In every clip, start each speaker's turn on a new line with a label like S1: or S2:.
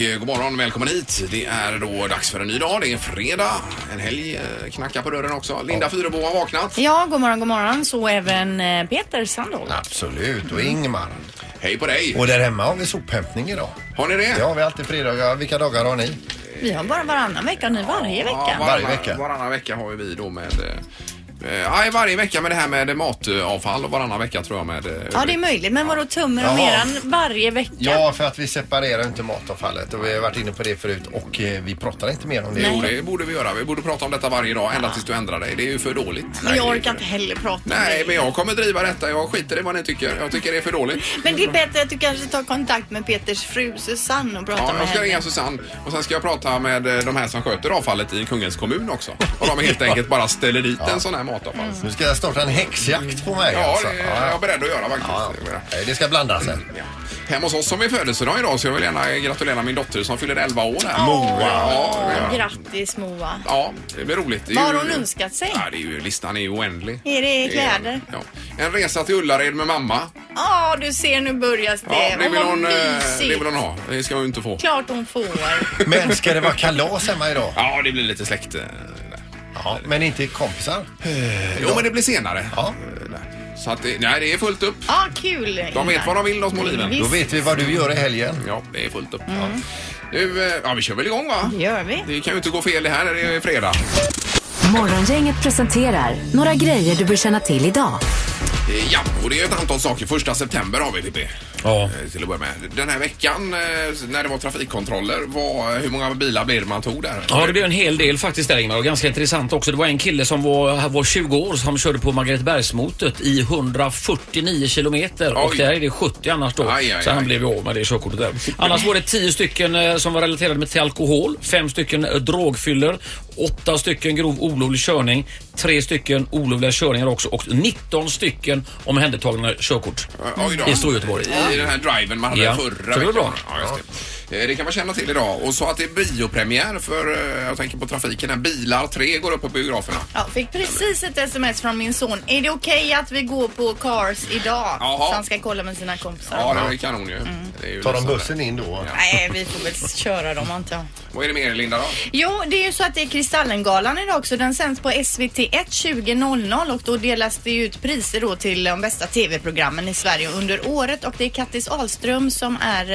S1: eh, God morgon, välkommen hit. Det är då dags för en ny dag. Det är fredag, en helg eh, knackar på dörren också. Linda Fyrebo har vaknat.
S2: Ja, god morgon, god morgon. Så även eh, Peter Sandholm.
S3: Absolut, och Ingmar.
S1: Hej på dig!
S3: Och där hemma har vi sophämtning idag.
S1: Har ni det?
S3: Det har vi alltid fredagar. Vilka dagar har ni?
S2: Vi har bara varannan vecka, nu varje vecka.
S1: varannan-
S3: Varje vecka.
S1: Varannan vecka har ju vi då med... eh, eh, Nej, varje vecka med det här med matavfall och varannan vecka tror jag med... eh,
S2: Ja, det är möjligt. Men vadå tummen och
S3: Jaha.
S2: eran varje vecka?
S3: Ja, för att vi separerar inte matavfallet och vi har varit inne på det förut och eh, vi pratar inte mer om det.
S1: Jo, det borde vi göra. Vi borde prata om detta varje dag ända tills du ändrar dig. Det är ju för dåligt.
S2: Men jag orkar inte heller prata om
S1: Nej,
S2: det.
S1: men jag kommer driva detta. Jag skiter i vad ni tycker. Jag tycker det är för dåligt.
S2: Men det är bättre att du kanske tar kontakt med Peters fru Susanne och pratar
S1: Ja,
S2: med
S1: jag ska
S2: henne.
S1: ringa Susanne och sen ska jag prata med eh, de här som sköter avfallet i Kungens kommun också. Och de helt enkelt bara ställer dit en sån här matavfall.
S2: Mm.
S3: Nu ska jag starta en häxjakt på mig
S1: Ja,
S3: alltså.
S1: det är jag beredd att göra faktiskt.
S3: Nej, Det ska blandas sen.
S1: Ja. Hemma hos oss som är födelsedag idag så jag vill gärna gratulera min dotter som fyller 11 år här.
S2: Moa.
S1: Ja, det vill jag.
S2: Ja, Grattis Moa.
S1: ja, det blir roligt. Det är
S2: Vad har
S1: ju-
S2: hon önskat sig?
S1: Ja, det är ju, listan är ju oändlig.
S2: Är det kläder?
S1: Ja. En resa till Ullared med mamma.
S2: Ja, du ser nu börjas
S1: Ja,
S2: det.
S1: det, vill
S2: vad
S1: hon, eh, det
S2: mysigt.
S1: vill hon ha. Det ska hon ju inte få.
S2: Klart hon får.
S3: Men ska det vara kalas hemma idag?
S1: Ja, det blir lite släkt. eh, där.
S3: Ja, men inte kompisar?
S1: Jo, men det blir senare.
S3: Ja.
S1: Eh, där. Så att det, nej, det är fullt upp.
S2: Ja, kul.
S1: De vet
S2: Ingmar.
S1: vad de vill, de
S4: Mm.
S1: små liven.
S2: Visst.
S3: Då vet vi vad du gör i helgen.
S1: Ja, det är fullt upp. Ja. Nu, eh, ja, vi kör väl igång va?
S2: Det gör vi.
S1: Det kan ju inte gå fel det här när det är fredag.
S5: Morgongänget presenterar några grejer du bör känna till idag.
S1: Eh, Ja, och det är ett antal saker. Första september har vi Pippi.
S3: Ja.
S1: Eh, Till att börja med. Den här veckan eh, när det var trafikkontroller, vad, hur många bilar blev det man tog där?
S4: Ja, det blev en hel del faktiskt där Ingmar. Och ganska intressant också. Det var en kille som var, var 20 år som körde på Margaretbergsmotet i 149 kilometer. Och
S1: Oj.
S4: där är det 70 annars då.
S1: Aj, aj,
S4: så han
S1: aj.
S4: blev ju av med det körkortet där. Annars var det 10 stycken eh, som var relaterade med till alkohol. 5 stycken eh, drogfyller. 8 stycken grov olovlig körning. 3 stycken olovliga körningar också. Och 19 stycken omhändertagna körkort.
S1: Eh, oj då.
S4: I Storgöteborg.
S1: I den här driven man hade
S4: Ja,
S1: förra
S4: så det var bra.
S1: Ja, just det. Eh, det kan man känna till idag. Och så att det är biopremiär för, eh, jag tänker på trafiken här, Bilar 3 går upp på biograferna.
S2: Ja, fick precis ett sms från min son. Är det okej att vi går på Cars idag?
S1: Jaha.
S2: Så han ska kolla med sina kompisar.
S1: Ja, det är ju kanon ju.
S2: Mm.
S1: Det är ju
S3: Tar de
S1: nästan
S3: bussen in då?
S2: Nej, vi får väl köra dem antar jag.
S1: där. Vad är det mer Linda då?
S2: Jo, det är ju så att det är Kristallengalan idag också. Den sänds på SVT 1 20.00 och då delas det ut priser då till de bästa tv-programmen i Sverige under året och det är Kattis Ahlström som är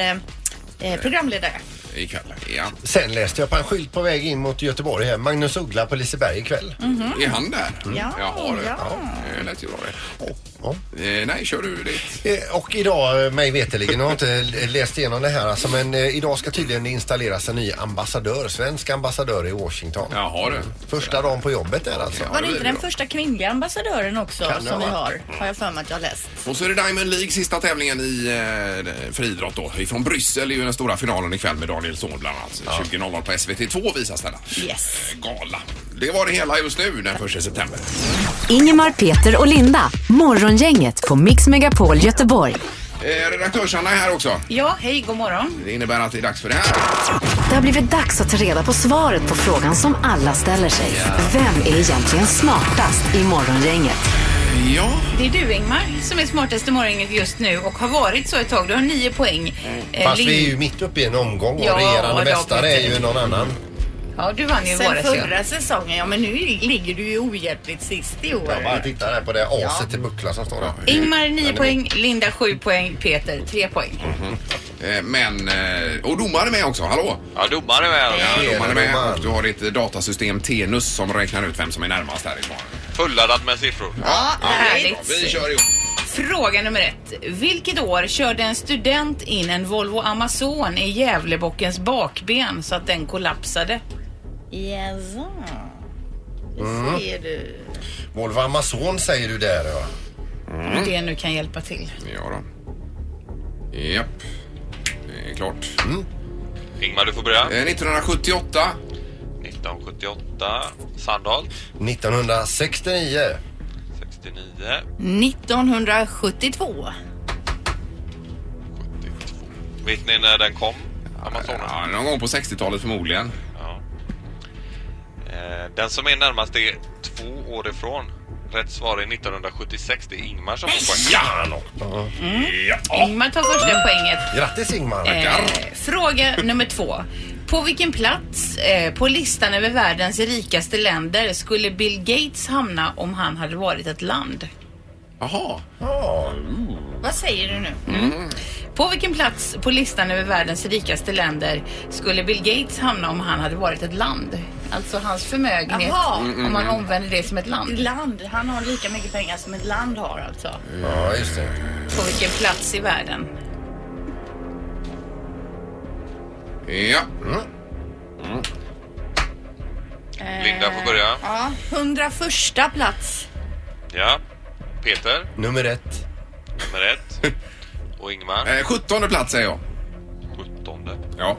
S2: eh, eh, programledare.
S1: Ikväll. Ja.
S3: Sen läste jag på en skylt på väg in mot Göteborg här. Magnus Uggla på Liseberg ikväll.
S1: Är han där?
S2: Mm. Ja,
S1: Jaha, det,
S2: ja.
S1: det lät ju bra det.
S3: Ja.
S1: Eh, nej, kör du ditt.
S3: Eh, Och idag, eh, mig veterligen, jag har inte läst igenom det här alltså, men eh, idag ska tydligen installeras en ny ambassadör, svensk ambassadör i Washington.
S1: Jaha du.
S3: Första dagen på jobbet där alltså.
S1: Ja, det
S2: Var det
S1: blir
S2: inte den
S1: bra.
S2: första kvinnliga ambassadören också
S3: Kan det
S2: som vi
S3: ha
S2: har? Har jag för mig att jag har läst.
S1: Och så är det Diamond League, sista tävlingen i eh, friidrott då. Ifrån Bryssel är ju den stora finalen ikväll med Daniel Ståhl bland annat. 20.00 på SVT2 visas denna.
S2: Yes.
S1: Eh, Gala. Det var det hela just nu den 1 september.
S5: Ingemar, Peter och Linda. Morgongänget på Mix Megapol Göteborg.
S1: Eh, Redaktörs-Anna är här också.
S6: Ja, hej, god morgon.
S1: Det innebär att det är dags för det här.
S5: Det har blivit dags att ta reda på svaret på frågan som alla ställer sig. Vem är egentligen smartast i Morgongänget?
S1: Ja,
S6: Det är du Ingmar som är smartast i morgonen just nu och har varit så ett tag. Du har nio poäng. Eh,
S3: Mm. Fast
S6: Lin-
S3: vi är ju mitt uppe i en omgång och
S6: Ja,
S3: regerande
S6: då,
S3: mästare är ju någon annan.
S6: Ja, du vann ju
S2: Sen
S6: våras ju.
S2: förra säsongen, ja men nu ligger du ju ohjälpligt sist i
S3: Jag bara
S2: år.
S3: tittar här på det aset i buckla som står där.
S6: Ingmar nio poäng, Linda sju poäng, Peter tre poäng.
S1: eh, men... Eh, och domare är med också, hallå!
S7: Ja, domare med.
S1: Ja,
S3: Tjena,
S1: domaren är med
S3: domaren.
S1: och du har ditt datasystem Tenus som räknar ut vem som är närmast härifrån.
S7: Fulladdat med siffror.
S1: Ja,
S6: härligt.
S1: Vi kör ihop.
S6: Fråga nummer ett. Vilket år körde en student in en Volvo Amazon i Gävlebockens bakben så att den kollapsade?
S2: Jaså? Det
S3: Mm.
S2: ser du.
S3: Volvo Amazon säger du där ja.
S6: Om det nu kan hjälpa till.
S1: Ja då. Japp. Det är klart.
S7: Ingmar, du får börja.
S1: Eh, 1978.
S7: 1978. Sandholt.
S3: 1969.
S7: 69.
S2: 1972.
S7: 72. Vet ni när den kom? Amazonen?
S1: Ja, någon gång på 60-talet förmodligen.
S7: Ja. Eh, Den som är närmast är två år ifrån. Rätt svar är 1976. Det är Ingmar som får poäng.
S1: Ja! Mm. Ja.
S6: Ingmar tar första poänget.
S3: Grattis Ingmar!
S6: Eh, fråga nummer två. På vilken plats eh, på listan över världens rikaste länder skulle Bill Gates hamna om han hade varit ett land?
S1: Jaha.
S2: Vad säger du nu?
S6: På vilken plats på listan över världens rikaste länder skulle Bill Gates hamna om han hade varit ett land? Alltså hans förmögenhet,
S2: Jaha.
S8: Mm.
S6: om
S7: Mm-hmm.
S6: man omvänder det som ett land.
S2: Land. Han har lika mycket pengar som ett land har alltså.
S3: Ja, just det.
S6: På vilken plats i världen?
S1: Ja. Mm.
S7: Linda får börja.
S2: Ja, 101 plats.
S7: Ja. Peter,
S3: Nummer ett.
S7: nummer ett. Och Ingmar,
S1: Eh, 17 plats säger jag.
S7: sjuttonde.
S1: Ja.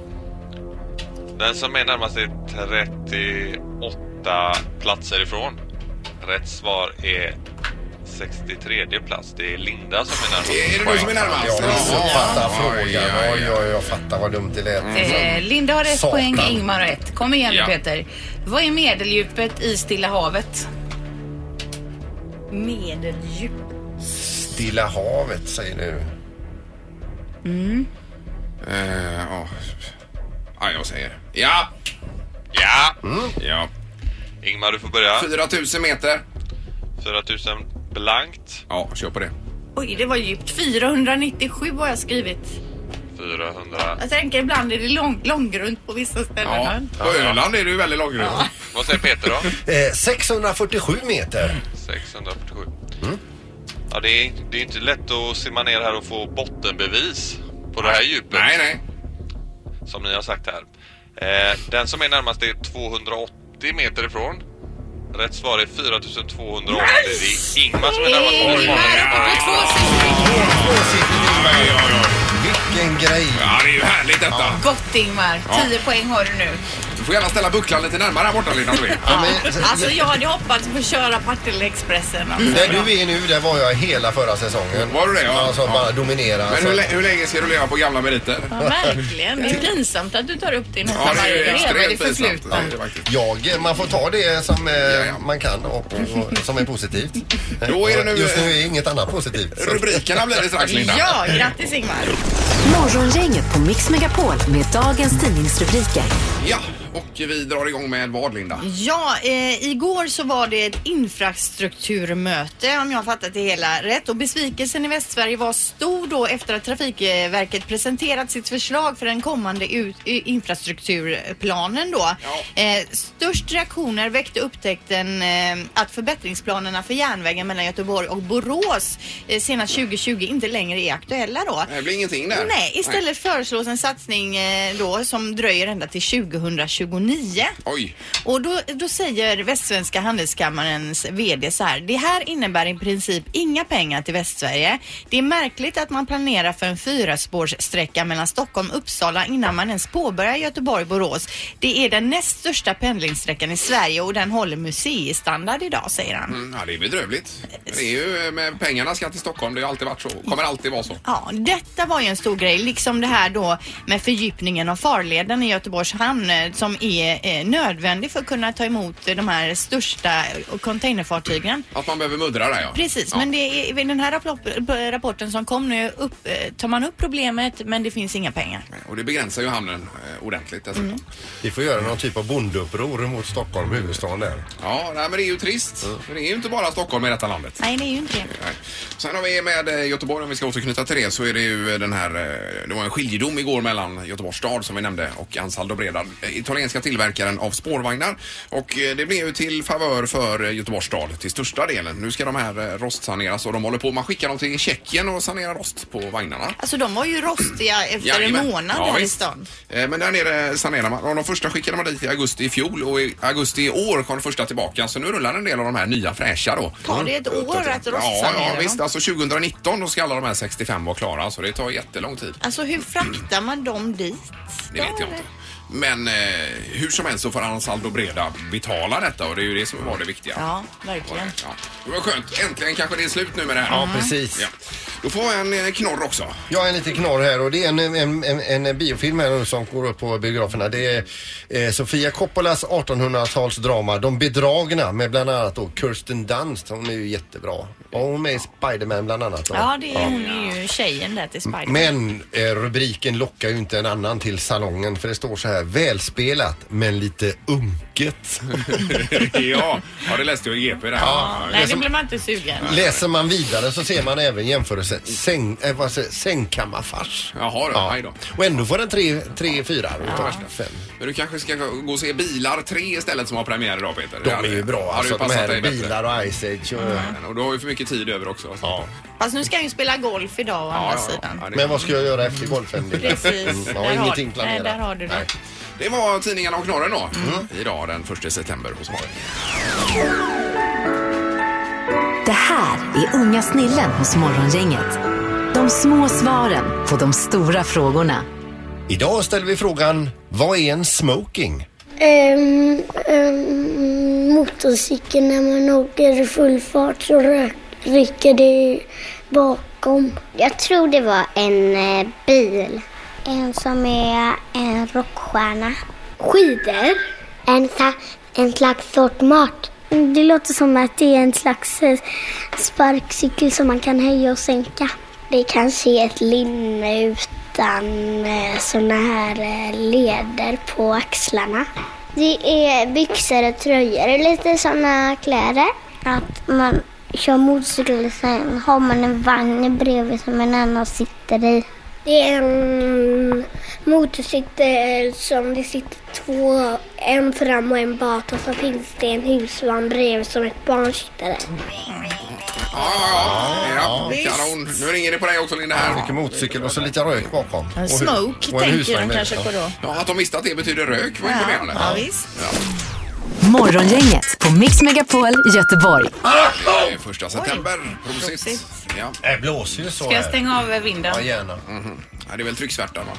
S7: Den som är närmast är 38 platser ifrån. Rätt svar är 63 plats. Det är Linda som är närmast.
S1: Är det du som är närmast?
S3: Jag missuppfattar frågan.
S1: ja, ja,
S3: Oj,
S1: ja.
S3: oj, jag fattar vad dumt det lät.
S6: Eh, Linda har ett
S3: Mm. Satan.
S6: poäng, Ingmar har ett. Kom igen nu
S1: Ja.
S6: Peter. Vad är medeldjupet i Stilla havet?
S2: Medeldjup.
S3: Stilla havet säger du.
S1: Eh, ja. Ja, jag säger Ja!
S7: Ja!
S1: Ja.
S7: Ingmar, du får börja.
S1: 4000 meter.
S7: 4000 blankt.
S1: Ja, kör på det.
S2: Oj, det var djupt. 497 har jag skrivit.
S7: 400.
S2: Jag tänker ibland är det lång, långgrunt på vissa ställen.
S1: Ja.
S2: va?
S1: På Öland är det ju väldigt långgrunt.
S7: Vad säger Peter då?
S3: Eh, 647 meter.
S7: 647.
S1: Mm.
S7: Ja, det är, det är inte lätt att simma ner här och få bottenbevis på det här djupet
S1: Nej, nej.
S7: som ni har sagt här. Eh, den som är närmast är 280 meter ifrån. Rätt svar är 4280. Det är Ingmar som är närmast.
S6: Ingmar uppe på 262.
S1: Oj, oj, oj.
S3: Vilken grej!
S1: Ja, det är ju härligt detta.
S6: Gott Ingmar, 10 poäng har du nu.
S1: Du får gärna ställa bucklan lite närmare här borta, Linda, om du vill.
S3: Ja, men,
S2: Alltså jag hade hoppats på att köra Partille-Expressen. Alltså.
S3: där du är nu, där var jag hela förra säsongen.
S1: Var du det? Ja.
S3: Alltså bara dominera.
S1: Men hur,
S3: Så-
S1: lä- hur länge ska du leva på gamla meriter?
S2: Ja, verkligen. Det är pinsamt att du tar upp det i nästan
S1: Ja, det är ju
S2: varje grej.
S1: extremt
S6: det
S1: pinsamt.
S6: förflutna.
S1: Ja, det är faktiskt.
S3: Jag, man får ta det som eh,
S1: ja.
S3: man kan och, och som är positivt.
S1: Då är det nu-
S3: Just nu är inget annat positivt. Så-
S1: Rubrikerna blir det strax, Linda.
S2: Ja, grattis Ingmar.
S5: Morgongänget på Mix Megapol med dagens tidningsrubriker.
S1: Ja, och vi drar igång med vad, Linda?
S2: Ja, eh, igår så var det ett infrastrukturmöte om jag har fattat det hela rätt och besvikelsen i Västsverige var stor då efter att Trafikverket presenterat sitt förslag för den kommande ut, i- infrastrukturplanen då.
S1: Ja.
S2: Eh, störst reaktioner väckte upptäckten eh, att förbättringsplanerna för järnvägen mellan Göteborg och Borås eh, senast 2020 inte längre är aktuella då.
S1: Det blir ingenting där.
S2: Nej, istället föreslås en satsning eh, då som dröjer ända till 2029.
S1: Nej. Oj.
S2: Och då, då säger Västsvenska handelskammarens VD så här. Det här innebär i princip inga pengar till Västsverige. Det är märkligt att man planerar för en fyraspårssträcka mellan Stockholm och Uppsala innan man ens påbörjar Göteborg-Borås. Det är den näst största pendlingssträckan i Sverige och den håller museistandard idag, säger han.
S1: Mm, Ja, det är bedrövligt. Men Det är ju eh, med pengarna ska till Stockholm. Det har alltid varit så. Kommer alltid vara så.
S2: Ja, detta var ju en stor grej, liksom det här då med fördjupningen av farleden i Göteborgs hamn eh, som är eh, nödvändig för att kunna ta emot eh, de här största eh, containerfartygen.
S1: Att man behöver muddra där, ja.
S2: Precis,
S1: ja.
S2: men det är, i den här rapport- rapporten som kom nu upp, eh, tar man upp problemet men det finns inga pengar.
S1: Och det begränsar ju hamnen eh, ordentligt dessutom.
S3: Vi får göra någon typ av bondeuppror mot Stockholm, huvudstaden där.
S1: Ja, nej, men det är ju trist. För det är ju inte bara Stockholm i detta landet.
S2: Nej, det är ju inte det.
S1: Nej. Sen har vi med eh, Göteborg, om vi ska återknyta till det, så är det ju eh, den här, eh, det var en skiljedom igår mellan Göteborgs stad som vi nämnde och Ansaldo Breda, eh, italienska tillverkaren av spårvagnar. Och eh, det blev ju till favör för eh, Göteborgs stad till största delen. Nu ska de här eh, rostsaneras och de håller på, man skickar dem till Tjeckien och sanerar rost på vagnarna.
S2: Alltså de var ju rostiga efter en
S1: Jajamän.
S2: månad
S1: Ja,
S2: här i
S1: visst.
S2: stan.
S1: Eh, Men där nere sanerar man. Och De första skickade man dit i augusti i fjol och i augusti i år kom de första tillbaka. Så nu rullar en del av de här nya fräscha då.
S2: Tar det ett år att
S1: Mm. Ja,
S2: rostsanera
S1: ja
S2: dem?
S1: visst. Alltså 2019 då ska alla de här 65 vara klara. Så det tar jättelång tid.
S2: Alltså hur fraktar man dem dit?
S1: Det vet jag inte. Men eh, hur som helst så får Ansaldo Breda betala detta och det är ju det som var det viktiga.
S2: Ja, verkligen.
S1: Ja, det var skönt. Äntligen kanske det är slut nu med det här.
S3: Ja, precis.
S1: Ja. Då får jag en eh, knorr också.
S3: Jag är en liten knorr här och det är en, en, en, en biofilm här nu som går upp på biograferna. Det är eh, Sofia Coppolas 1800-talsdrama De bedragna med bland annat då Kirsten Dunst. Hon är ju jättebra. Och hon är med i Spiderman bland annat. Då.
S2: Ja, det är hon är ju tjejen där till Spiderman.
S3: Men eh, rubriken lockar ju inte en annan till salongen för det står så här välspelat men lite unket.
S1: ja. ja, det läste jag i GP där.
S3: Ja.
S2: Nej,
S3: det
S2: det
S3: som-
S2: blir man inte sugen.
S3: Läser man vidare så ser man även jämförelse säng, eh, vad säger, sängkammarfars.
S1: Jaha då, aj då.
S3: Och ändå får den tre, tre fyra utav fem.
S1: Men du kanske ska gå och se Bilar 3 istället som har premiär idag Peter.
S3: De
S1: Det hade-
S3: är ju bra
S1: hade ju
S3: alltså. De
S1: passat
S3: här
S1: dig bättre. Mm.
S3: bilar och Ice Age. Och...
S1: Och du har ju för mycket tid över också. Så.
S3: Ja.
S2: Fast nu ska han ju spela golf idag å andra sidan.
S1: Ja, det-
S3: Men vad ska jag göra efter golfen? Mm,
S2: Precis.
S3: Jag
S2: Där
S3: har
S2: har-
S3: ingenting planerat.
S2: nej, där har du det.
S3: Nej.
S1: Det var tidningarna och knorren då.
S3: Mm.
S1: Idag den 1 september hos Morgon.
S5: Det här är unga snillen hos Morgongänget. De små svaren på de stora frågorna.
S3: Idag ställer vi frågan, vad är en smoking?
S8: Ehm, ehm, motorcykeln när man åker i full fart så rök, rycker det bakom. Jag tror det var en eh, bil. En som är en rockstjärna. Skidor. En, sa- en slags sort mat. Det låter som att det är en slags eh, sparkcykel som man kan höja och sänka. Det kanske är ett linne utan eh, såna här eh, leder på axlarna. Det är byxor och tröjor, lite såna kläder. Att man kör motorcykel och sen har man en vagn bredvid som en annan sitter i. Det är en Eh, motorcykel som det sitter två, en fram och en bak och så finns det en husvagn bredvid som ett barn sitter i.
S1: Ja, ja, ja. ja kanon. Nu ringer det på dig också Linda här.
S3: Mycket motorcykel och så lite rök bakom.
S2: En
S3: Och hu- och
S2: smoke
S3: en
S2: tänker
S3: husvagn
S2: de
S3: med-
S2: kanske på då.
S1: Ja, att de visste att det betyder rök var
S2: Ja,
S1: imponerande.
S2: ja, visst.
S5: Morgongänget på Mix Megapol Göteborg.
S1: Det är första september. Prosit. Ja.
S3: Det blåser ju så
S6: Ska jag
S3: här.
S6: stänga av vinden?
S3: Ja, gärna.
S1: ja, det är väl trycksvärtan va?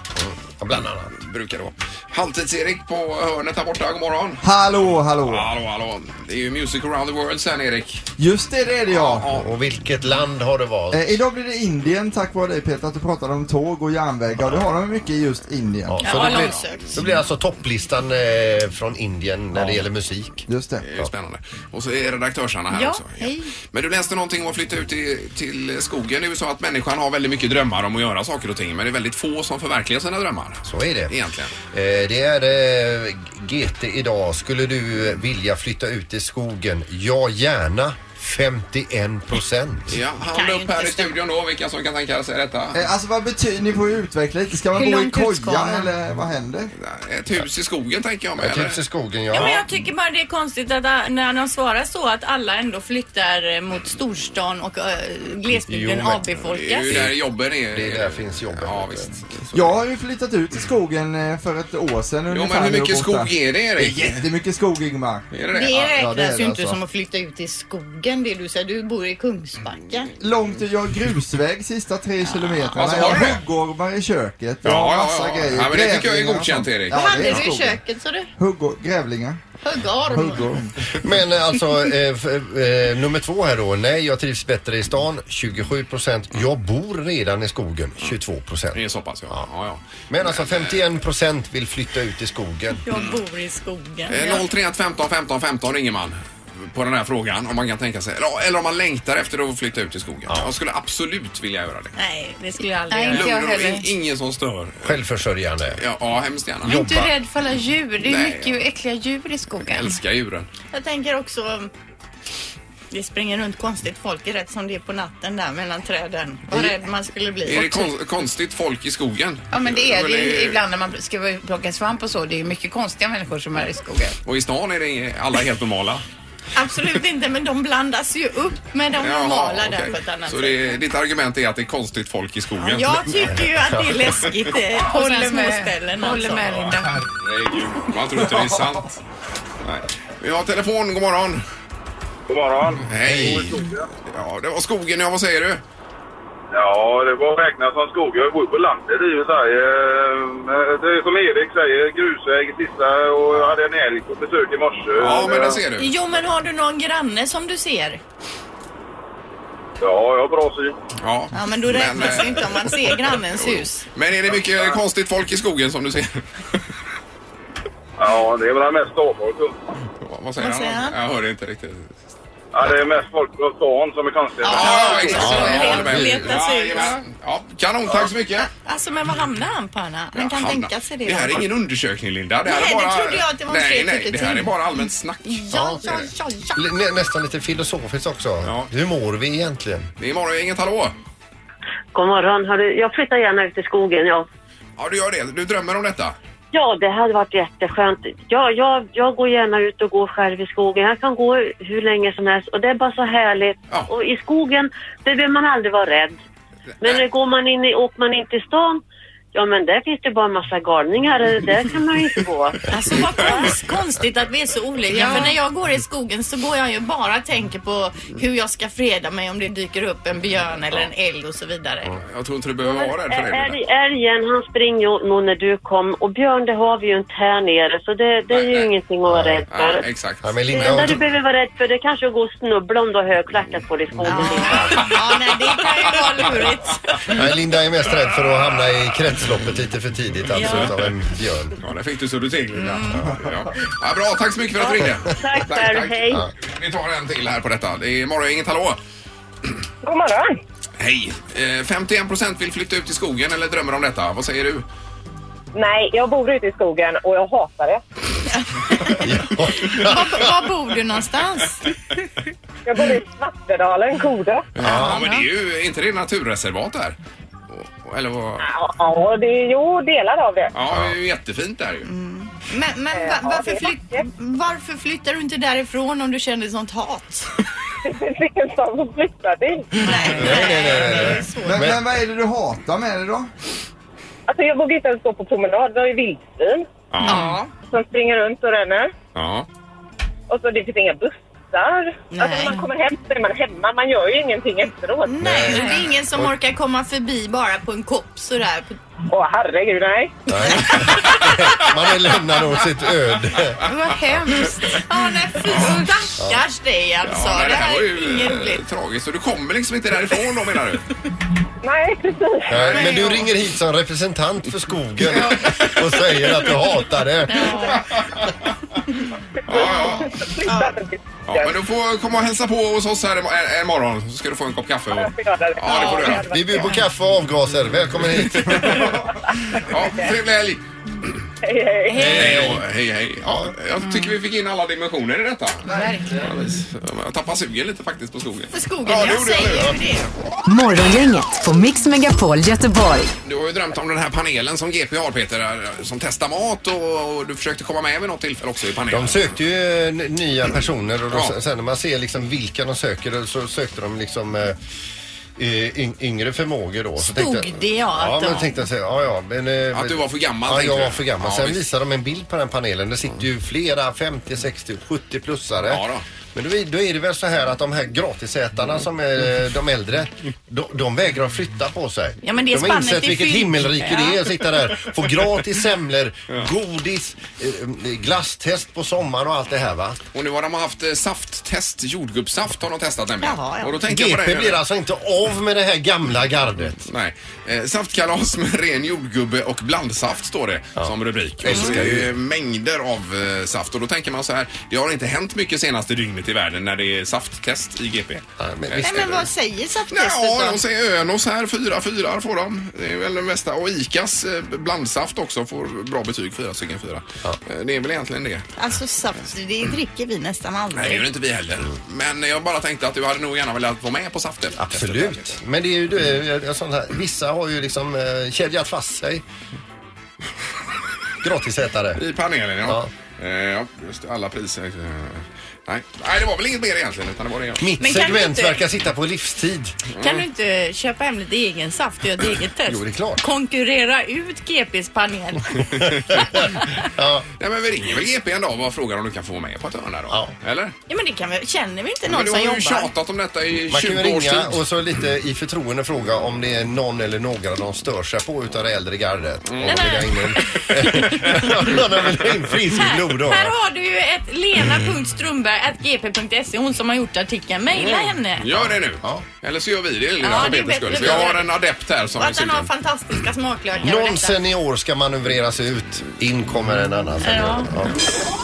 S3: Ja, bland annat.
S1: Brukar det vara. Halvtids-Erik på hörnet där borta. God morgon.
S9: Hallå, hallå!
S1: Hallå, hallå. Det är ju Music around the world sen Erik.
S9: Just det, det är det jag.
S3: Och vilket land har du valt?
S9: Eh, idag blir det Indien tack vare dig Peter att du pratade om tåg och järnvägar. Det har de mycket i just Indien.
S3: Ja, så
S2: Ja,
S3: det,
S2: långsökt.
S3: blir, det blir alltså topplistan eh, från Indien när det gäller musik.
S9: Just det.
S1: Det är ju spännande. Och så är redaktörsarna här
S2: Ja,
S1: också.
S2: hej.
S1: Men du läste någonting om att flytta ut till, till skogen i USA, att människan har väldigt mycket drömmar om att göra saker och ting, men det är väldigt få som förverkligar sina drömmar.
S3: Så är det.
S1: Egentligen.
S3: Eh, det är eh, GT idag. Skulle du vilja flytta ut i skogen? Ja, gärna. 51 procent.
S1: Ja,
S2: Kan
S1: hand
S2: ju
S1: upp
S2: inte
S1: här i
S2: stämma.
S1: studion då, vilka som kan tänka sig detta.
S9: Eh, alltså vad betyder, ni får ju utveckla lite. Ska man
S2: Hur
S9: bo i
S2: långt ut ska
S9: koja
S2: man?
S9: eller vad händer?
S1: Ett hus i skogen tänker jag mig.
S3: Ett
S1: eller?
S3: hus Typ i skogen,
S2: Ja, men
S3: ja.
S2: jag tycker bara det är konstigt att äh, när de svarar så att alla ändå flyttar eh, mot storstan och äh, glesbygden
S3: Jo, men-
S1: Det är
S2: avbefolkas.
S1: ju där jobben är.
S3: Det är där finns jobben.
S1: Ja, visst. Så-
S9: Jag har ju flyttat ut i skogen eh, för ett år sedan
S1: Jo,
S9: ungefär
S1: men hur
S9: nu och
S1: mycket skog
S9: bott där.
S1: är det
S9: Det är
S1: Erik?
S9: jättemycket skog Ingmar.
S1: Är det det?
S2: Det
S1: Ja.
S2: räknas
S9: ja, det är det
S2: ju inte
S9: alltså.
S2: som att flytta ut i skogen det du säger. Du bor i
S1: Mm.
S2: Kungsbacka.
S9: Långt, jag har grusväg sista tre kilometerna.
S1: Alltså,
S9: jag
S1: har du det?
S9: har huggormar i köket. Jag
S1: Ja,
S9: har
S1: ja,
S9: massa
S1: ja.
S9: grejer.
S1: Ja, men det tycker jag är
S9: Grävlingar och
S1: godkänt,
S9: sånt.
S1: Erik.
S9: Ja,
S2: Vad
S9: det
S2: hade
S9: är
S2: du i
S9: skogen.
S2: köket sa du?
S9: Huggor, grävlingar,
S2: Hugga arm.
S1: Mm.
S9: huggor.
S3: Men eh, alltså, eh, f- eh, nummer två här då. Nej, jag trivs bättre i stan. 27 procent. Jag bor redan i skogen. 22 procent.
S1: Det är så pass, ja. ja, ja.
S3: Men alltså 51 procent vill flytta ut i skogen.
S2: Jag bor i skogen.
S1: Eh, 031 15 15 15 ringer man på den här frågan om man kan tänka sig, eller- eller om man längtar efter att flytta ut i skogen. Jag skulle absolut vilja göra det.
S2: Nej, det skulle jag aldrig
S6: Nej,
S2: göra.
S6: inte jag
S1: Lugn och ro,
S6: heller.
S1: in, ingen som stör.
S3: Självförsörjande.
S1: Ja, ja hemskt gärna.
S6: Jag är inte
S3: jobba.
S6: rädd för alla djur. Det är
S1: Nej.
S6: mycket äckliga djur i
S1: Jag
S6: skogen.
S1: älskar djuren.
S2: Jag tänker också... um, Det springer runt konstigt folk rätt som det är på natten där mellan träden. Vad rädd man skulle bli.
S1: Mm. Är det kon- konstigt folk i skogen?
S6: Ja men det är det
S1: Eller-
S6: ju ibland när man ska plocka svamp och så. Det är ju mycket konstiga människor som är i skogen.
S1: Och i stan är det alla helt normala?
S2: Absolut inte, men de blandas ju upp med de normala
S1: Jaha,
S2: där
S1: okej.
S2: på ett annat
S1: Så
S2: sätt.
S1: det, ditt argument är att det är konstigt folk i skogen?
S2: Jag tycker ju att det är läskigt eh, på
S6: Håller
S2: sådana små
S6: med,
S2: ställen
S6: håller
S2: alltså.
S6: med Linda.
S1: Herregud, man tror inte det är sant. Nej. Vi har telefon, god morgon.
S10: God morgon.
S1: Hej! Ja, det var skogen, ja vad säger du?
S10: Ja, det var räknat som skog. Jag bor på landet i och för sig. Eh, Det är som Erik säger, grusväg i sista och jag hade en älg på besök i morse.
S1: Ja, men det ser du.
S2: Jo, men har du någon granne som du ser?
S10: Ja, jag har bra syn.
S1: Ja, eh,
S2: Ja, men då räknas det inte om man ser grannens hus.
S1: Men är det mycket konstigt folk i skogen som du ser?
S10: Ja, det är väl mest ståfolk. då.
S1: Vad säger
S2: Vad säger
S1: han?
S2: han?
S1: Jag hörde inte riktigt.
S10: Ja, det är mest folk från stan som är konstiga.
S1: Ja, exakt.
S2: så är det.
S1: Jag håller med.
S2: Letar sig ut.
S1: jajamän. ja, kanon, tack så mycket.
S2: Alltså, men vad hamnar han på, Anna? Han kan
S1: Hanna,
S2: tänka sig det.
S1: Det här är ingen undersökning Linda. här
S2: Nej,
S1: är
S2: det trodde jag att det var en
S1: Nej,
S2: fri
S1: nej, det här är
S2: tycketing.
S1: bara allmänt snack.
S2: Ja, ja, ja, ja.
S3: L- nä- nästan lite filosofiskt också.
S1: Ja.
S3: Hur mår vi egentligen?
S1: Det är morgon, inget hallå.
S11: God morgon. Hörru, jag flyttar gärna ut i skogen. Ja,
S1: Ja, du gör det. Du drömmer om detta.
S11: ja det hade varit jätteskönt. Ja, jag, jag går gärna ut och går själv i skogen. Jag kan gå hur länge som helst och det är bara så härligt.
S1: Ja.
S11: Och i skogen, det behöver man aldrig vara rädd. Men
S1: Nej.
S11: går man in i, åker man in till stan, ja men där finns det bara en massa galningar.
S1: Mm.
S11: Där kan man ju inte gå.
S2: Alltså vad konst, konstigt att vi är så olika. För när jag går i skogen så går jag ju bara och tänker på hur jag ska freda mig om det dyker upp en björn eller en älg och så vidare.
S1: Jag tror inte du behöver vara rädd för det. Linda.
S11: Älg- Älgen, han springer ju nog när du kom och björn, det har vi ju inte här nere så det, det är
S1: Nej,
S11: ju
S1: nej.
S11: ingenting att vara rädd
S1: Ja,
S11: för.
S1: exakt.
S3: Ja, men
S11: Det
S3: Linda,
S11: enda
S3: jag,
S11: du
S3: tror,
S11: behöver vara rädd för det är kanske att gå och snubbla om du har högklackat på dig i skogen.
S2: Ja, nej, det kan ju vara lurigt.
S3: nej, Linda är mest rädd för att hamna i kretsloppet lite för tidigt alltså
S2: Ja.
S3: utav en björn.
S1: Ja, där fick du så du till Linda. Ja, ja. Ja, bra, tack så mycket för att du ringde.
S11: Mm. Tack, Per. Hej.
S1: Ja. Vi tar en till här på detta. Det är morgon, inget hallå.
S11: God morgon!
S1: Hej! Eh, 51 procent vill flytta ut i skogen eller drömmer om detta. Vad säger du?
S11: Nej, jag bor ute i skogen och jag hatar det.
S3: Ja.
S2: Var, var bor du någonstans?
S11: Jag bor i Svartedalen, Kode.
S1: Ja, men det är ju är inte det naturreservat där. Och- Eller vad?
S11: Ja, det är jo delar av det. Mm.
S1: Ja, det är ju jättefint där ju.
S2: Men, men va, varför, flyt, varför flyttar du inte därifrån om du känner sånt hat?
S11: Det finns ingen som flyttar dit.
S2: Nej,
S3: Nej, nej, nej, nej, nej.
S9: Men,
S3: Men-
S9: men vad är det du hatar med det då?
S11: Alltså jag vågar inte ens gå på promenad. Vi har ju vildsvin
S2: Ja.
S11: som springer runt och ränner.
S1: Ja.
S11: Och så det finns inga bussar.
S2: Nej.
S11: Alltså när man kommer hem så är man hemma. Man gör ju ingenting efteråt.
S2: Nej, och det är ingen som orkar komma förbi bara på en kopp sådär.
S11: Åh herregud, nej.
S3: Nej. Man är lämnad åt sitt öde.
S2: Vad hemskt. Ja, nej, fy stackars dig alltså.
S1: nej,
S2: det här är
S1: ju
S2: inget
S1: eh,
S2: roligt.
S1: tragiskt. Och du kommer liksom inte därifrån då menar du?
S11: Nej, precis.
S3: Nej, men du ringer hit som representant för skogen och säger att du hatar det.
S1: Ja, ja.
S11: Flytta inte dit.
S1: ja men du får komma och hälsa på hos oss här im- en, en morgon så ska du få en kopp kaffe. Och...
S11: Jag får göra det.
S1: Ja, det får du göra.
S3: Vi bjuder på kaffe och avgaser. Välkommen hit.
S1: Ja, trevlig helg!
S11: Hej, hej.
S1: Hej, då. hej, hej. Ja, jag tycker vi fick in alla dimensioner i detta. Verkligen. Jag tappade sugen lite faktiskt på skogen.
S2: För skogen,
S1: Ja, det
S2: jag
S1: gjorde jag nu.
S2: säger ju det.
S5: Morgongänget på Mix Megapol Göteborg.
S1: Du har ju drömt om den här panelen som GP har Peter, där, som testar mat och, och du försökte komma med vid något tillfälle också i panelen.
S3: De sökte ju eh, n- nya personer och då,
S1: Ja.
S3: sen när man ser liksom vilka de söker så sökte de liksom eh, eh, yng- yngre förmågor då. Så
S2: Stod det, ja,
S3: Ja,
S2: att
S3: men
S2: de-
S3: tänkte jag säga, ja, ja, men, eh,
S1: Att du var för gammal,
S3: Ja,
S1: tänkte
S3: jag
S1: du?
S3: var för gammal.
S1: Ja,
S3: sen
S1: visst.
S3: visade de en bild på den panelen. Det sitter ju flera 50, 60, 70 plussare.
S1: Ja, då.
S3: Men då är, då är det väl så här att de här gratisätarna som är eh, de äldre, de, de vägrar flytta på sig.
S2: Ja, men det är
S3: de har
S2: spannet
S3: insett
S2: är
S3: vilket
S2: fyllt.
S3: himmelrike det är
S2: Ja.
S3: att sitta där, få gratis semlor, godis, eh, glasstest på sommaren och allt det här va.
S1: Och nu har de haft eh, safttest, jordgubbssaft har de testat nämligen.
S2: Jaha, ja.
S1: Och då tänkte jag på
S3: GP
S1: det.
S3: blir alltså inte av med det här gamla gardet.
S1: Nej. Eh, saftkalas med ren jordgubbe och blandsaft står det som rubrik. Och så ska ju eh, mängder av eh, saft. Och då tänker man så här, det har inte hänt mycket senaste dygnet i världen när det är safttest i GP.
S3: Ja, men
S1: Eh,
S3: visst
S2: Nej, men vad säger
S1: Nej,
S2: safttestet
S1: ja,
S2: då?
S1: de säger Önos här, fyra fyra får de. Det är väl den bästa. Och ICAs eh, blandsaft också får bra betyg, fyra stycken fyra. Eh, Det är väl egentligen det.
S2: Alltså saft, det dricker vi nästan
S1: Nej, det
S2: aldrig.
S1: gör inte vi heller. Men jag bara tänkte att du hade nog gärna velat vara med på saftet.
S3: Absolut. Men det är ju eh, det, är sånt här. Vissa har ju liksom eh, kedjat fast sig. Gratisätare.
S1: I panelen, ja. Eh, Ja, just det, alla priser. eh, Nej. Nej, det var väl inget mer egentligen, utan det var det jag...
S3: Mitt
S2: Men kan
S3: segment
S2: du inte-
S3: verkar sitta på livstid.
S2: Kan du inte köpa hem lite egen saft och göra ett eget test?
S3: Jo, det är klart.
S2: Konkurrera ut GPs panel.
S1: Nej, men vi ringer väl GP en dag och bara frågar om du kan få vara med på ett hörn här då.
S3: Ja.
S1: Eller?
S2: Ja, men det kan vi, känner vi inte
S1: Men
S2: någon
S1: du
S2: som
S1: har ju
S2: jobbar?
S1: tjatat om detta i
S3: Man kan
S1: 20
S3: ju
S1: års
S3: ringa
S1: tid.
S3: och så lite i förtroende fråga om det är någon eller några de stör sig på utav det äldre gardet. Mm. Och
S2: Nej,
S3: vill ha in, vill ha in frisk blod då.
S2: Här har du ju ett Lena punkt Strömberg gp.se, hon som har gjort artikeln. Mejla henne.
S1: Gör det nu. Eller så gör vi det
S2: Ja,
S1: lilla
S2: det är
S1: för Peters
S2: bättre
S1: skull.
S2: vi
S1: Vi har
S2: gör det.
S1: en adept här som
S2: Och att han har
S1: dessutom...
S2: fantastiska smaklökar. och
S3: Någon
S2: detta.
S3: senior ska manövreras ut. In kommer en annan senior.
S2: Ja.
S3: Ja.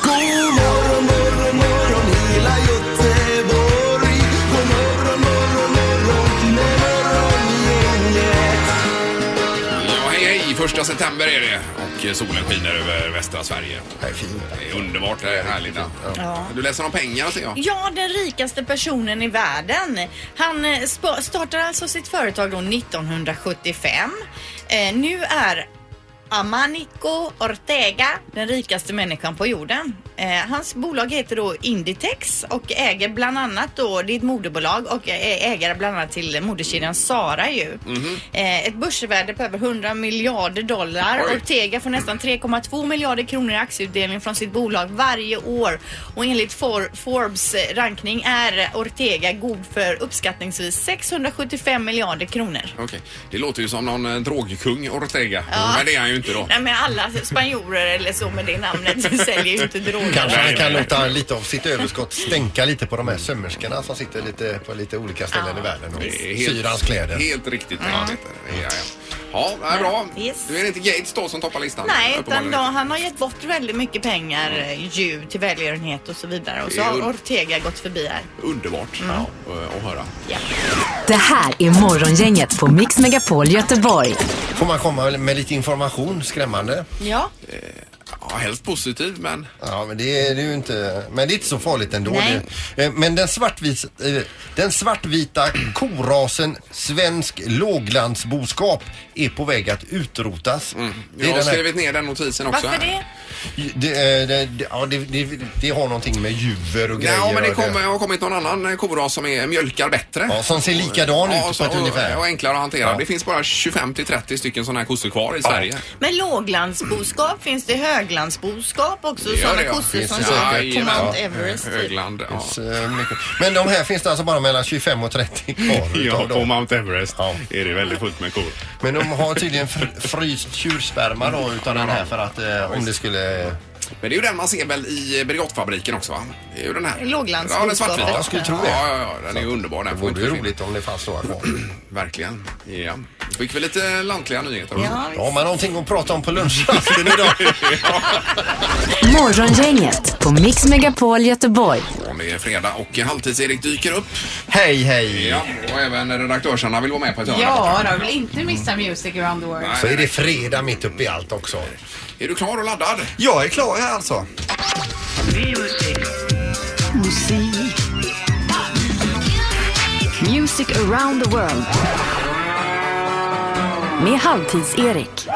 S12: God morgon, morgon, morgon hela Göteborg. God morgon, morgon, morgon med morgongänget.
S1: Ja, hej, hej! Första september är det och eh, solen skiner över västra Sverige. Det är fint. Det är underbart. Det är härligt.
S2: Ja.
S1: Du läser om pengar, ser jag.
S2: Ja, den rikaste personen i världen. Han eh, spa- startade alltså sitt företag då 1975. Eh, nu är Amanico Ortega den rikaste människan på jorden. Eh, hans bolag heter då Inditex och äger bland annat då, det är ett moderbolag och är ägare bland annat till moderkedjan Zara ju. Eh, ett börsvärde på över 100 miljarder dollar.
S6: Oj.
S2: Ortega får nästan 3,2 miljarder kronor i aktieutdelning från sitt bolag varje år. Och enligt For Forbes eh, rankning är Ortega god för uppskattningsvis 675 miljarder kronor.
S1: Okej. Det låter ju som någon eh, drogkung, Ortega.
S2: Ja.
S1: Men det är han ju inte då.
S2: Nej men alla spanjorer eller så med det namnet säljer ju inte droger.
S3: Kanske han kan låta lite av sitt överskott stänka lite på de här sömmerskorna som sitter lite på lite olika ställen i världen och
S1: Det är
S3: syr hans kläder.
S1: Helt riktigt tänkt. Ja, ja. ja det är bra. Nu är det inte Gates då som toppar listan.
S2: Nej, utan
S1: uppenbarligen.
S2: då, han har gett bort väldigt mycket pengar eh, ju till välgörenhet och så vidare. Och så
S1: Det är
S2: har
S1: un-
S2: Ortega gått förbi här.
S1: Underbart
S2: Mm.
S1: ja, eh, att att höra.
S5: Det här är Morgongänget på Mix Megapol Göteborg.
S3: Får man komma med lite information? Skrämmande.
S2: Ja.
S1: Ja, helst positiv men...
S3: Ja, men det är det är ju inte. Men det är inte så farligt ändå.
S1: Nej.
S3: Det, eh, men den, svartvis, eh, den svartvita korasen svensk låglandsboskap är på väg att utrotas.
S1: Jag har skrivit ner den notisen också. här.
S3: Det, eh, det, det, ja, det, det, det har någonting med djur och grejer
S1: Ja, men det
S3: och
S1: kommer, har kommit någon annan koras som är, mjölkar bättre.
S3: Ja, som ser likadan ut på
S1: så-
S3: ett ungefär.
S1: Och, och enklare att hantera.
S3: Ja.
S1: Det finns bara 25 till 30 stycken sådana här kossor kvar i Sverige.
S2: Men låglandsboskap, finns det höglandsboskap också? Sådana kossor som kör på Mount Everest. typ.
S1: Högland, ja.
S3: Så eh, mycket. Men de här finns det alltså bara mellan 25 och 30 kvar.
S1: Ja,
S3: utav
S1: på
S3: dem.
S1: Mount Everest är det väldigt fullt med kor.
S3: Men de har tydligen fr- fryst tjursperma då utav den här för att eh, om det skulle...
S1: Men det är ju den man ser väl i Brigottfabriken också va? Det är ju den här.
S2: Låglandsboskap.
S1: Ja, den svartvita.
S3: Ja, jag skulle tro det.
S1: Ja, ja, ja, den är ju underbar den.
S3: Det vore ju roligt om det fanns några kvar.
S1: Verkligen. Ja. Fick vi lite lantliga nyheter också.
S3: Ja, har man någonting att prata om på lunchrasten idag?
S5: Morgongänget på Mix Megapol Göteborg.
S1: Om det är fredag och Halvtids-Erik dyker upp.
S3: Hej, hej!
S1: Ja, och även redaktörsarna vill vara med på ett hörn.
S6: Ja, då vill inte missa Music around the world.
S3: Så är det fredag mitt uppe i allt också.
S1: Är du klar och laddad?
S12: Jag är klar här alltså.
S5: Musik. Music around the world. Med Halvtids-Erik.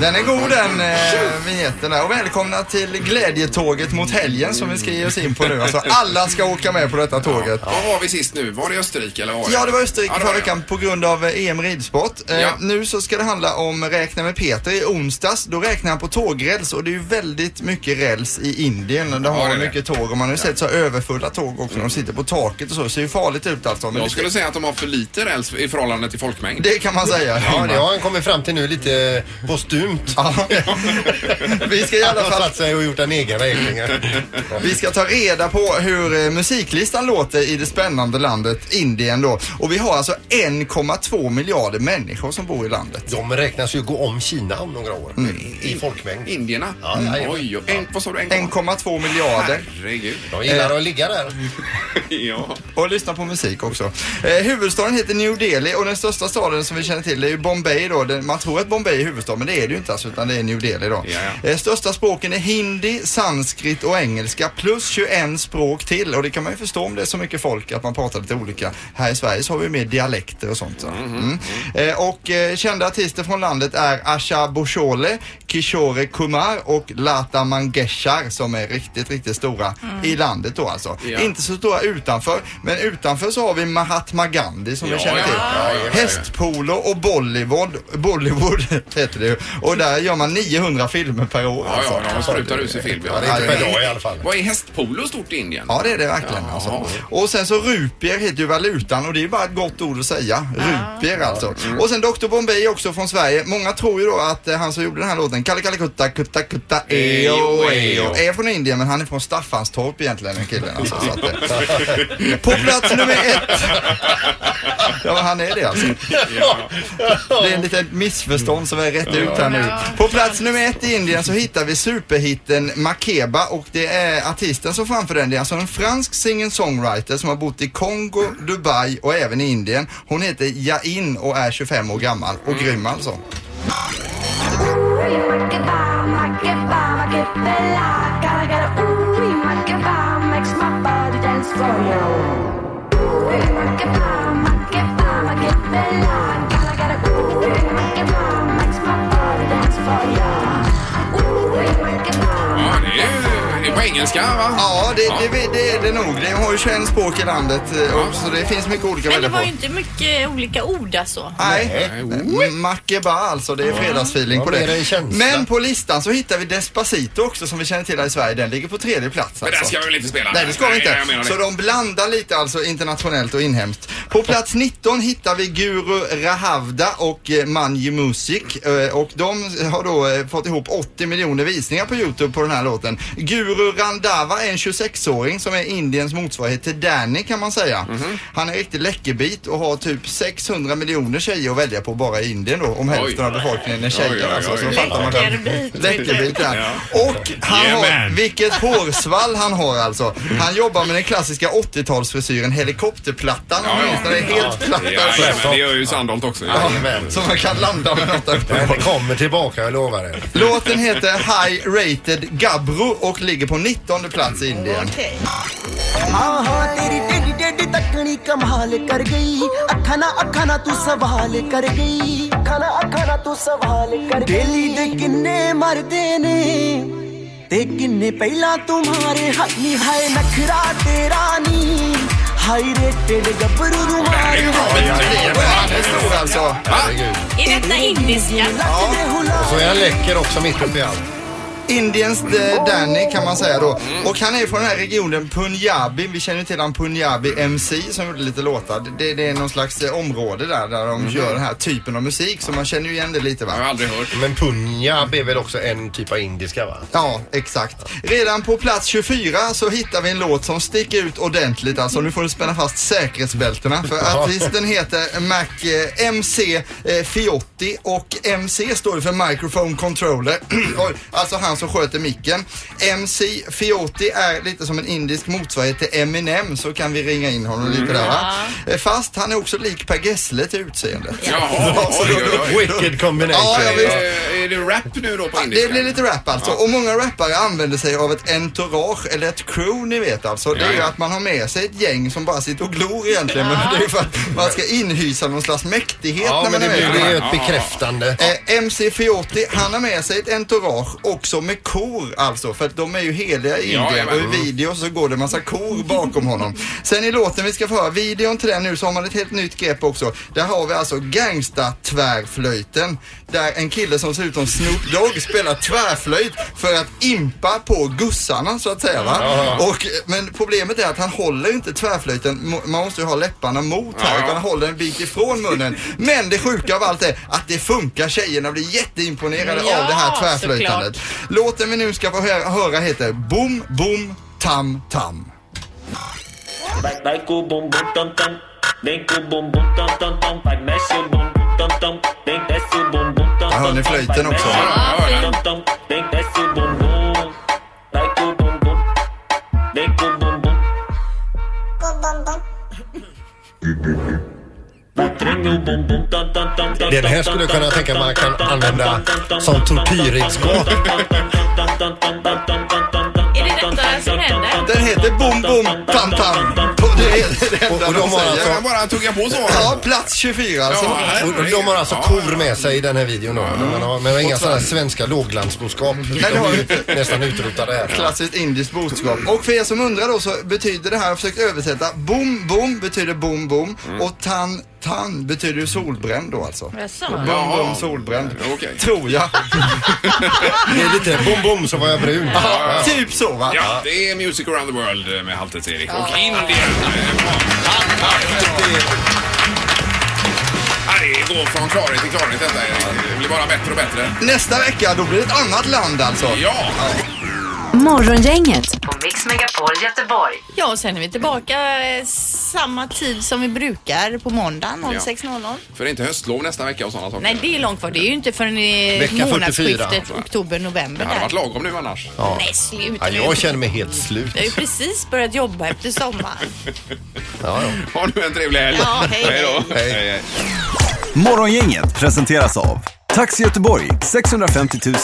S12: Den är god den eh, vinjetten där. Och välkomna till glädjetåget mot helgen som vi ska ge oss in på nu. Alltså alla ska åka med på detta tåget.
S1: Vad var vi sist nu? Var det Österrike eller var det?
S12: Ja, det var Österrike
S1: Ja, det var
S12: förra
S1: det.
S12: veckan på grund av eh, EM ridsport. Eh,
S1: Ja.
S12: Nu så ska det handla om Räkna med Peter i onsdags. Då räknar han på tågräls och det är ju väldigt mycket räls i Indien. och De har
S1: det är det.
S12: mycket tåg och man har ju sett så här överfulla tåg också. De sitter på taket och så. Det ser ju farligt ut alltså. Men
S1: Jag
S12: det-
S1: skulle säga att de har för lite räls i förhållande till folkmängd.
S12: Det kan man säga.
S3: Ja, det har han kommit fram till nu lite postumt.
S12: Vi ska i alla
S3: Han har
S12: fall
S3: satt sig och gjort en egen räkning.
S12: Vi ska ta reda på hur eh, musiklistan låter i det spännande landet Indien då. Och vi har alltså 1,2 miljarder människor som bor i landet.
S3: De räknas ju gå om Kina om några år
S12: Mm.
S3: i folkmängd.
S1: Indierna?
S3: Ja, jajamän.
S1: Oj, oj. En, vad sa du?
S12: 1,2 miljarder.
S1: Herregud.
S3: De
S12: Eh.
S3: gillar att ligga där.
S1: ja.
S12: Och lyssna på musik också. Eh, huvudstaden heter New Delhi och den största staden som vi känner till är ju Bombay då. Den, man tror att Bombay är huvudstad men det är det ju inte alltså utan det är New Delhi då.
S1: Ja, ja.
S12: Eh, största språken är hindi, sanskrit och engelska plus 21 språk till och det kan man ju förstå om det är så mycket folk att man pratar lite olika. Här i Sverige så har vi mer dialekter och sånt. Så.
S1: Mm-hmm.
S12: Mm. Eh, och eh, kända artister från landet är Asha Boshole, Kishore Kumar och Lata Mangeshkar som är riktigt, riktigt stora i landet då alltså.
S1: Ja.
S12: Inte så stora utanför, men utanför så har vi Mahatma Gandhi som vi
S1: Ja,
S12: känner
S1: ja.
S12: till.
S1: Ja, ja, ja, ja.
S12: Hästpolo och Bollywood, Bollywood heter det ju. Och där gör man 900 filmer per år. alltså.
S1: Ja, ja, de sprutar ur sig film.
S12: Ja, det är inte per dag i alla
S1: fall. Vad är hästpolo stort i Indien?
S12: Ja, det är det verkligen. Alltså. Och sen så rupier heter ju valutan och det är ju bara ett gott ord att säga. Rupier alltså.
S1: Mm.
S12: Och sen Dr Bombay också från Sverige. Många tror ju då att eh, han som gjorde den här låten, Kalle Kalle Kutta Kutta Kutta Eo Eo, är från Indien men han är från Staffanstorp egentligen den killen. Alltså, så att, eh. På plats nummer ett. Ja, men han är det alltså. Det är en liten missförstånd som är rätt ut här nu. På plats nummer ett i Indien så hittar vi superhitten Makeba och det är artisten som framför den. Det är alltså en fransk singer-songwriter som har bott i Kongo, Dubai och även i Indien. Hon heter Jain och är 25 år gammal och grym alltså.
S1: Ja, det är, det är på engelska va?
S12: Ja, det, det, det är det nog. Det har ju 21 språk i landet eh, och, så det finns mycket olika att
S2: Men
S12: välja
S2: det var
S12: på.
S2: ju inte mycket olika ord alltså.
S12: Nej, Eh, Makeba alltså. Det är fredagsfeeling på
S3: Ja, mer en
S12: det.
S3: känsla.
S12: Men på listan så hittar vi Despacito också som vi känner till här i Sverige. Den ligger på tredje plats. alltså.
S1: Men den ska vi väl inte spela?
S12: Nej, det ska vi
S1: Nej, jag menar
S12: inte.
S1: det.
S12: Så de blandar lite alltså internationellt och inhemskt. På plats 19 hittar vi Guru Rahavda och eh, Manji Music. Eh, Och de har då eh, fått ihop 80 miljoner visningar på Youtube på den här låten. Guru Randava är en 26-åring som är Indiens motsvarighet till Danny kan man säga.
S1: Mhm.
S12: Han är riktigt läckerbit och har typ 600 miljoner tjejer att välja på bara i Indien då. Om hälften av befolkningen är tjejer.
S1: Oj, oj, oj,
S12: alltså, så
S1: oj.
S12: fattar man själv.
S1: Läckerbit.
S12: Läckerbit ja. Och han
S1: Yeah,
S12: har,
S1: man.
S12: vilket hårsvall han har alltså. Han jobbar med den klassiska 80-talsfrisyren helikopterplattan om ni minns när det är helt platt alltså.
S1: Ja, men det gör ju Sandholt också.
S12: Ja, Så man kan landa med något där uppe.
S3: Den kommer tillbaka, jag lovar det.
S12: Låten heter High Rated Gabro och ligger på 19 plats i Indien.
S13: हाँ हाँ तेरी टेढ़ी टेढ़ी तकनी कमाल कर गई अखाना अखाना तू सवाल कर गई अखाना अखाना तू सवाल कर गई डेली दे किन्ने मरदे ने ते किन्ने पहला तुम्हारे हाय नी हाय नखरा तेरा नी हाय रेटेड गबरू तुम्हारे
S12: Det står alltså.
S2: Är detta indiska?
S3: Och så är han läcker också mitt uppe i allt.
S12: Indiens eh, Danny kan man säga då. Och han är från den här regionen Punjabi. Vi känner ju till han Punjabi MC som gjorde lite låtar. Det, det är någon slags eh, område där, där de gör den här typen av musik. Så man känner ju igen det lite va.
S1: Jag har aldrig hört.
S3: Men punjab är väl också en typ av indiska va?
S12: Ja, exakt. Redan på plats 24 så hittar vi en låt som sticker ut ordentligt. Alltså nu får du spänna fast säkerhetsbältena. För artisten heter Mac eh, MC eh, Fiotti och MC står för Microphone Controller. Oj, alltså han som sköter micken. MC Fiotti är lite som en indisk motsvarighet till Eminem så kan vi ringa in honom lite där va. Eh, Fast han är också lik Per Gessle till utseendet.
S1: Jaha, oj, oj, oj.
S3: Wicked combination.
S12: Ja, ja, visst.
S1: Eh, Är det rap nu då på
S12: Ah, Det
S1: indiska?
S12: blir lite rap alltså. Och många rappare använder sig av ett entourage eller ett crew ni vet alltså. Det är ju
S1: Ja, ja.
S12: att man har med sig ett gäng som bara sitter och glor egentligen. Men det är ju för att man ska inhysa någon slags mäktighet
S3: Ja,
S12: när
S3: men
S12: man
S3: det
S12: är med.
S3: blir ju ett bekräftande.
S12: Eh, MC Fiotti, han har med sig ett entourage också med kor alltså. För att de är ju heliga i
S1: Ja,
S12: Indien och
S1: jajamän.
S12: i video så går det massa kor bakom honom. Sen i låten vi ska få höra, videon till den nu, så har man ett helt nytt grepp också. Där har vi alltså gangsta-tvärflöjten. Där en kille som ser ut som Snoop Dogg spelar tvärflöjt för att impa på gussarna så att säga va. Och, eh, men problemet är att han håller inte tvärflöjten, Mo- man måste ju ha läpparna mot här,
S1: Ja, ja.
S12: utan han håller en bit ifrån munnen. Men det sjuka av allt är att det funkar, tjejerna blir jätteimponerade
S2: Ja,
S12: av det här tvärflöjtandet.
S2: såklart.
S12: Låten vi nu ska få höra, höra heter Boom Boom Tam Tam.
S14: Dai-ku bum bum tam tam. Dai-ku bum bum tam tam tam. Vai mexe o bum bum tam tam. Dai desce o bum bum tam
S12: Där hör
S14: tam.
S12: ni flöjten också.
S14: Vai tam tam. Dai desce o bum bum. Dai-ku bum bum. Dai-ku bum bum. Treme o bum bum tam tam tam tam.
S3: Den här skulle jag kunna tänka mig att man kan använda som tortyrredskap.
S2: Är det detta som händer?
S12: Den heter Boom Boom Tam Tam. Och Det är det enda
S3: Och de har
S12: säger.
S3: alltså-
S1: Jag bara tugga på så.
S12: Ja, plats 24 alltså.
S1: Ja, här-
S3: Och de har alltså
S1: Ja,
S3: kor med sig i den här videon då. Men, de har, men det är inga sådana här svenska låglandsboskap.
S12: det har vi
S3: De är nästan utrotade här.
S12: Klassiskt indiskt boskap. Och för er som undrar då så betyder det här, jag har försökt översätta, boom boom betyder boom boom och tan Tan betyder ju solbränd då alltså.
S6: Jaså?
S12: Bom,
S6: Jaha.
S12: bom, solbränd. Tror jag.
S3: Det är lite bom, bom så var jag brun.
S12: Ja, typ så va?
S1: Ja, det är Music around the world med Halvtids-Erik och Indien. Ja, Det går från klarhet till klarhet detta Erik. Det blir bara bättre och bättre.
S12: Nästa vecka då blir det ett annat land alltså.
S1: Ja.
S5: Morgongänget
S2: På Mix Megapol Göteborg. Ja, och sen är vi tillbaka eh, samma tid som vi brukar på måndag 06.00.
S1: För det är inte höstlov nästa vecka och sådana saker.
S2: Nej, det är långt kvar. Det är ju inte förrän i
S1: Vecka 44.
S2: månadsskiftet
S1: Nej.
S2: oktober-november
S1: Det hade
S2: där.
S1: varit lagom nu annars.
S3: Ja.
S2: Nej, sluta
S3: Ja,
S2: nu.
S3: jag känner mig helt slut.
S2: Jag har ju precis börjat jobba efter sommaren.
S3: Ja,
S1: ja. Ha nu en trevlig helg.
S2: Ja, hej,
S1: då. Hej, hej.
S15: Morgongänget presenteras av Taxi Göteborg 650 000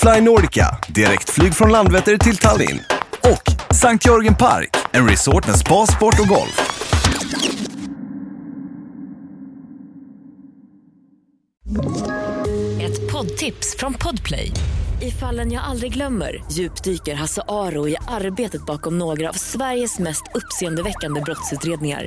S15: Fly Nordica, direktflyg från Landvetter till Tallinn och Sankt Jörgen Park, en resort med spa, sport och golf.
S16: Ett poddtips från Podplay. I fallen jag aldrig glömmer djupdyker Hasse Aro i arbetet bakom några av Sveriges mest uppseendeväckande brottsutredningar.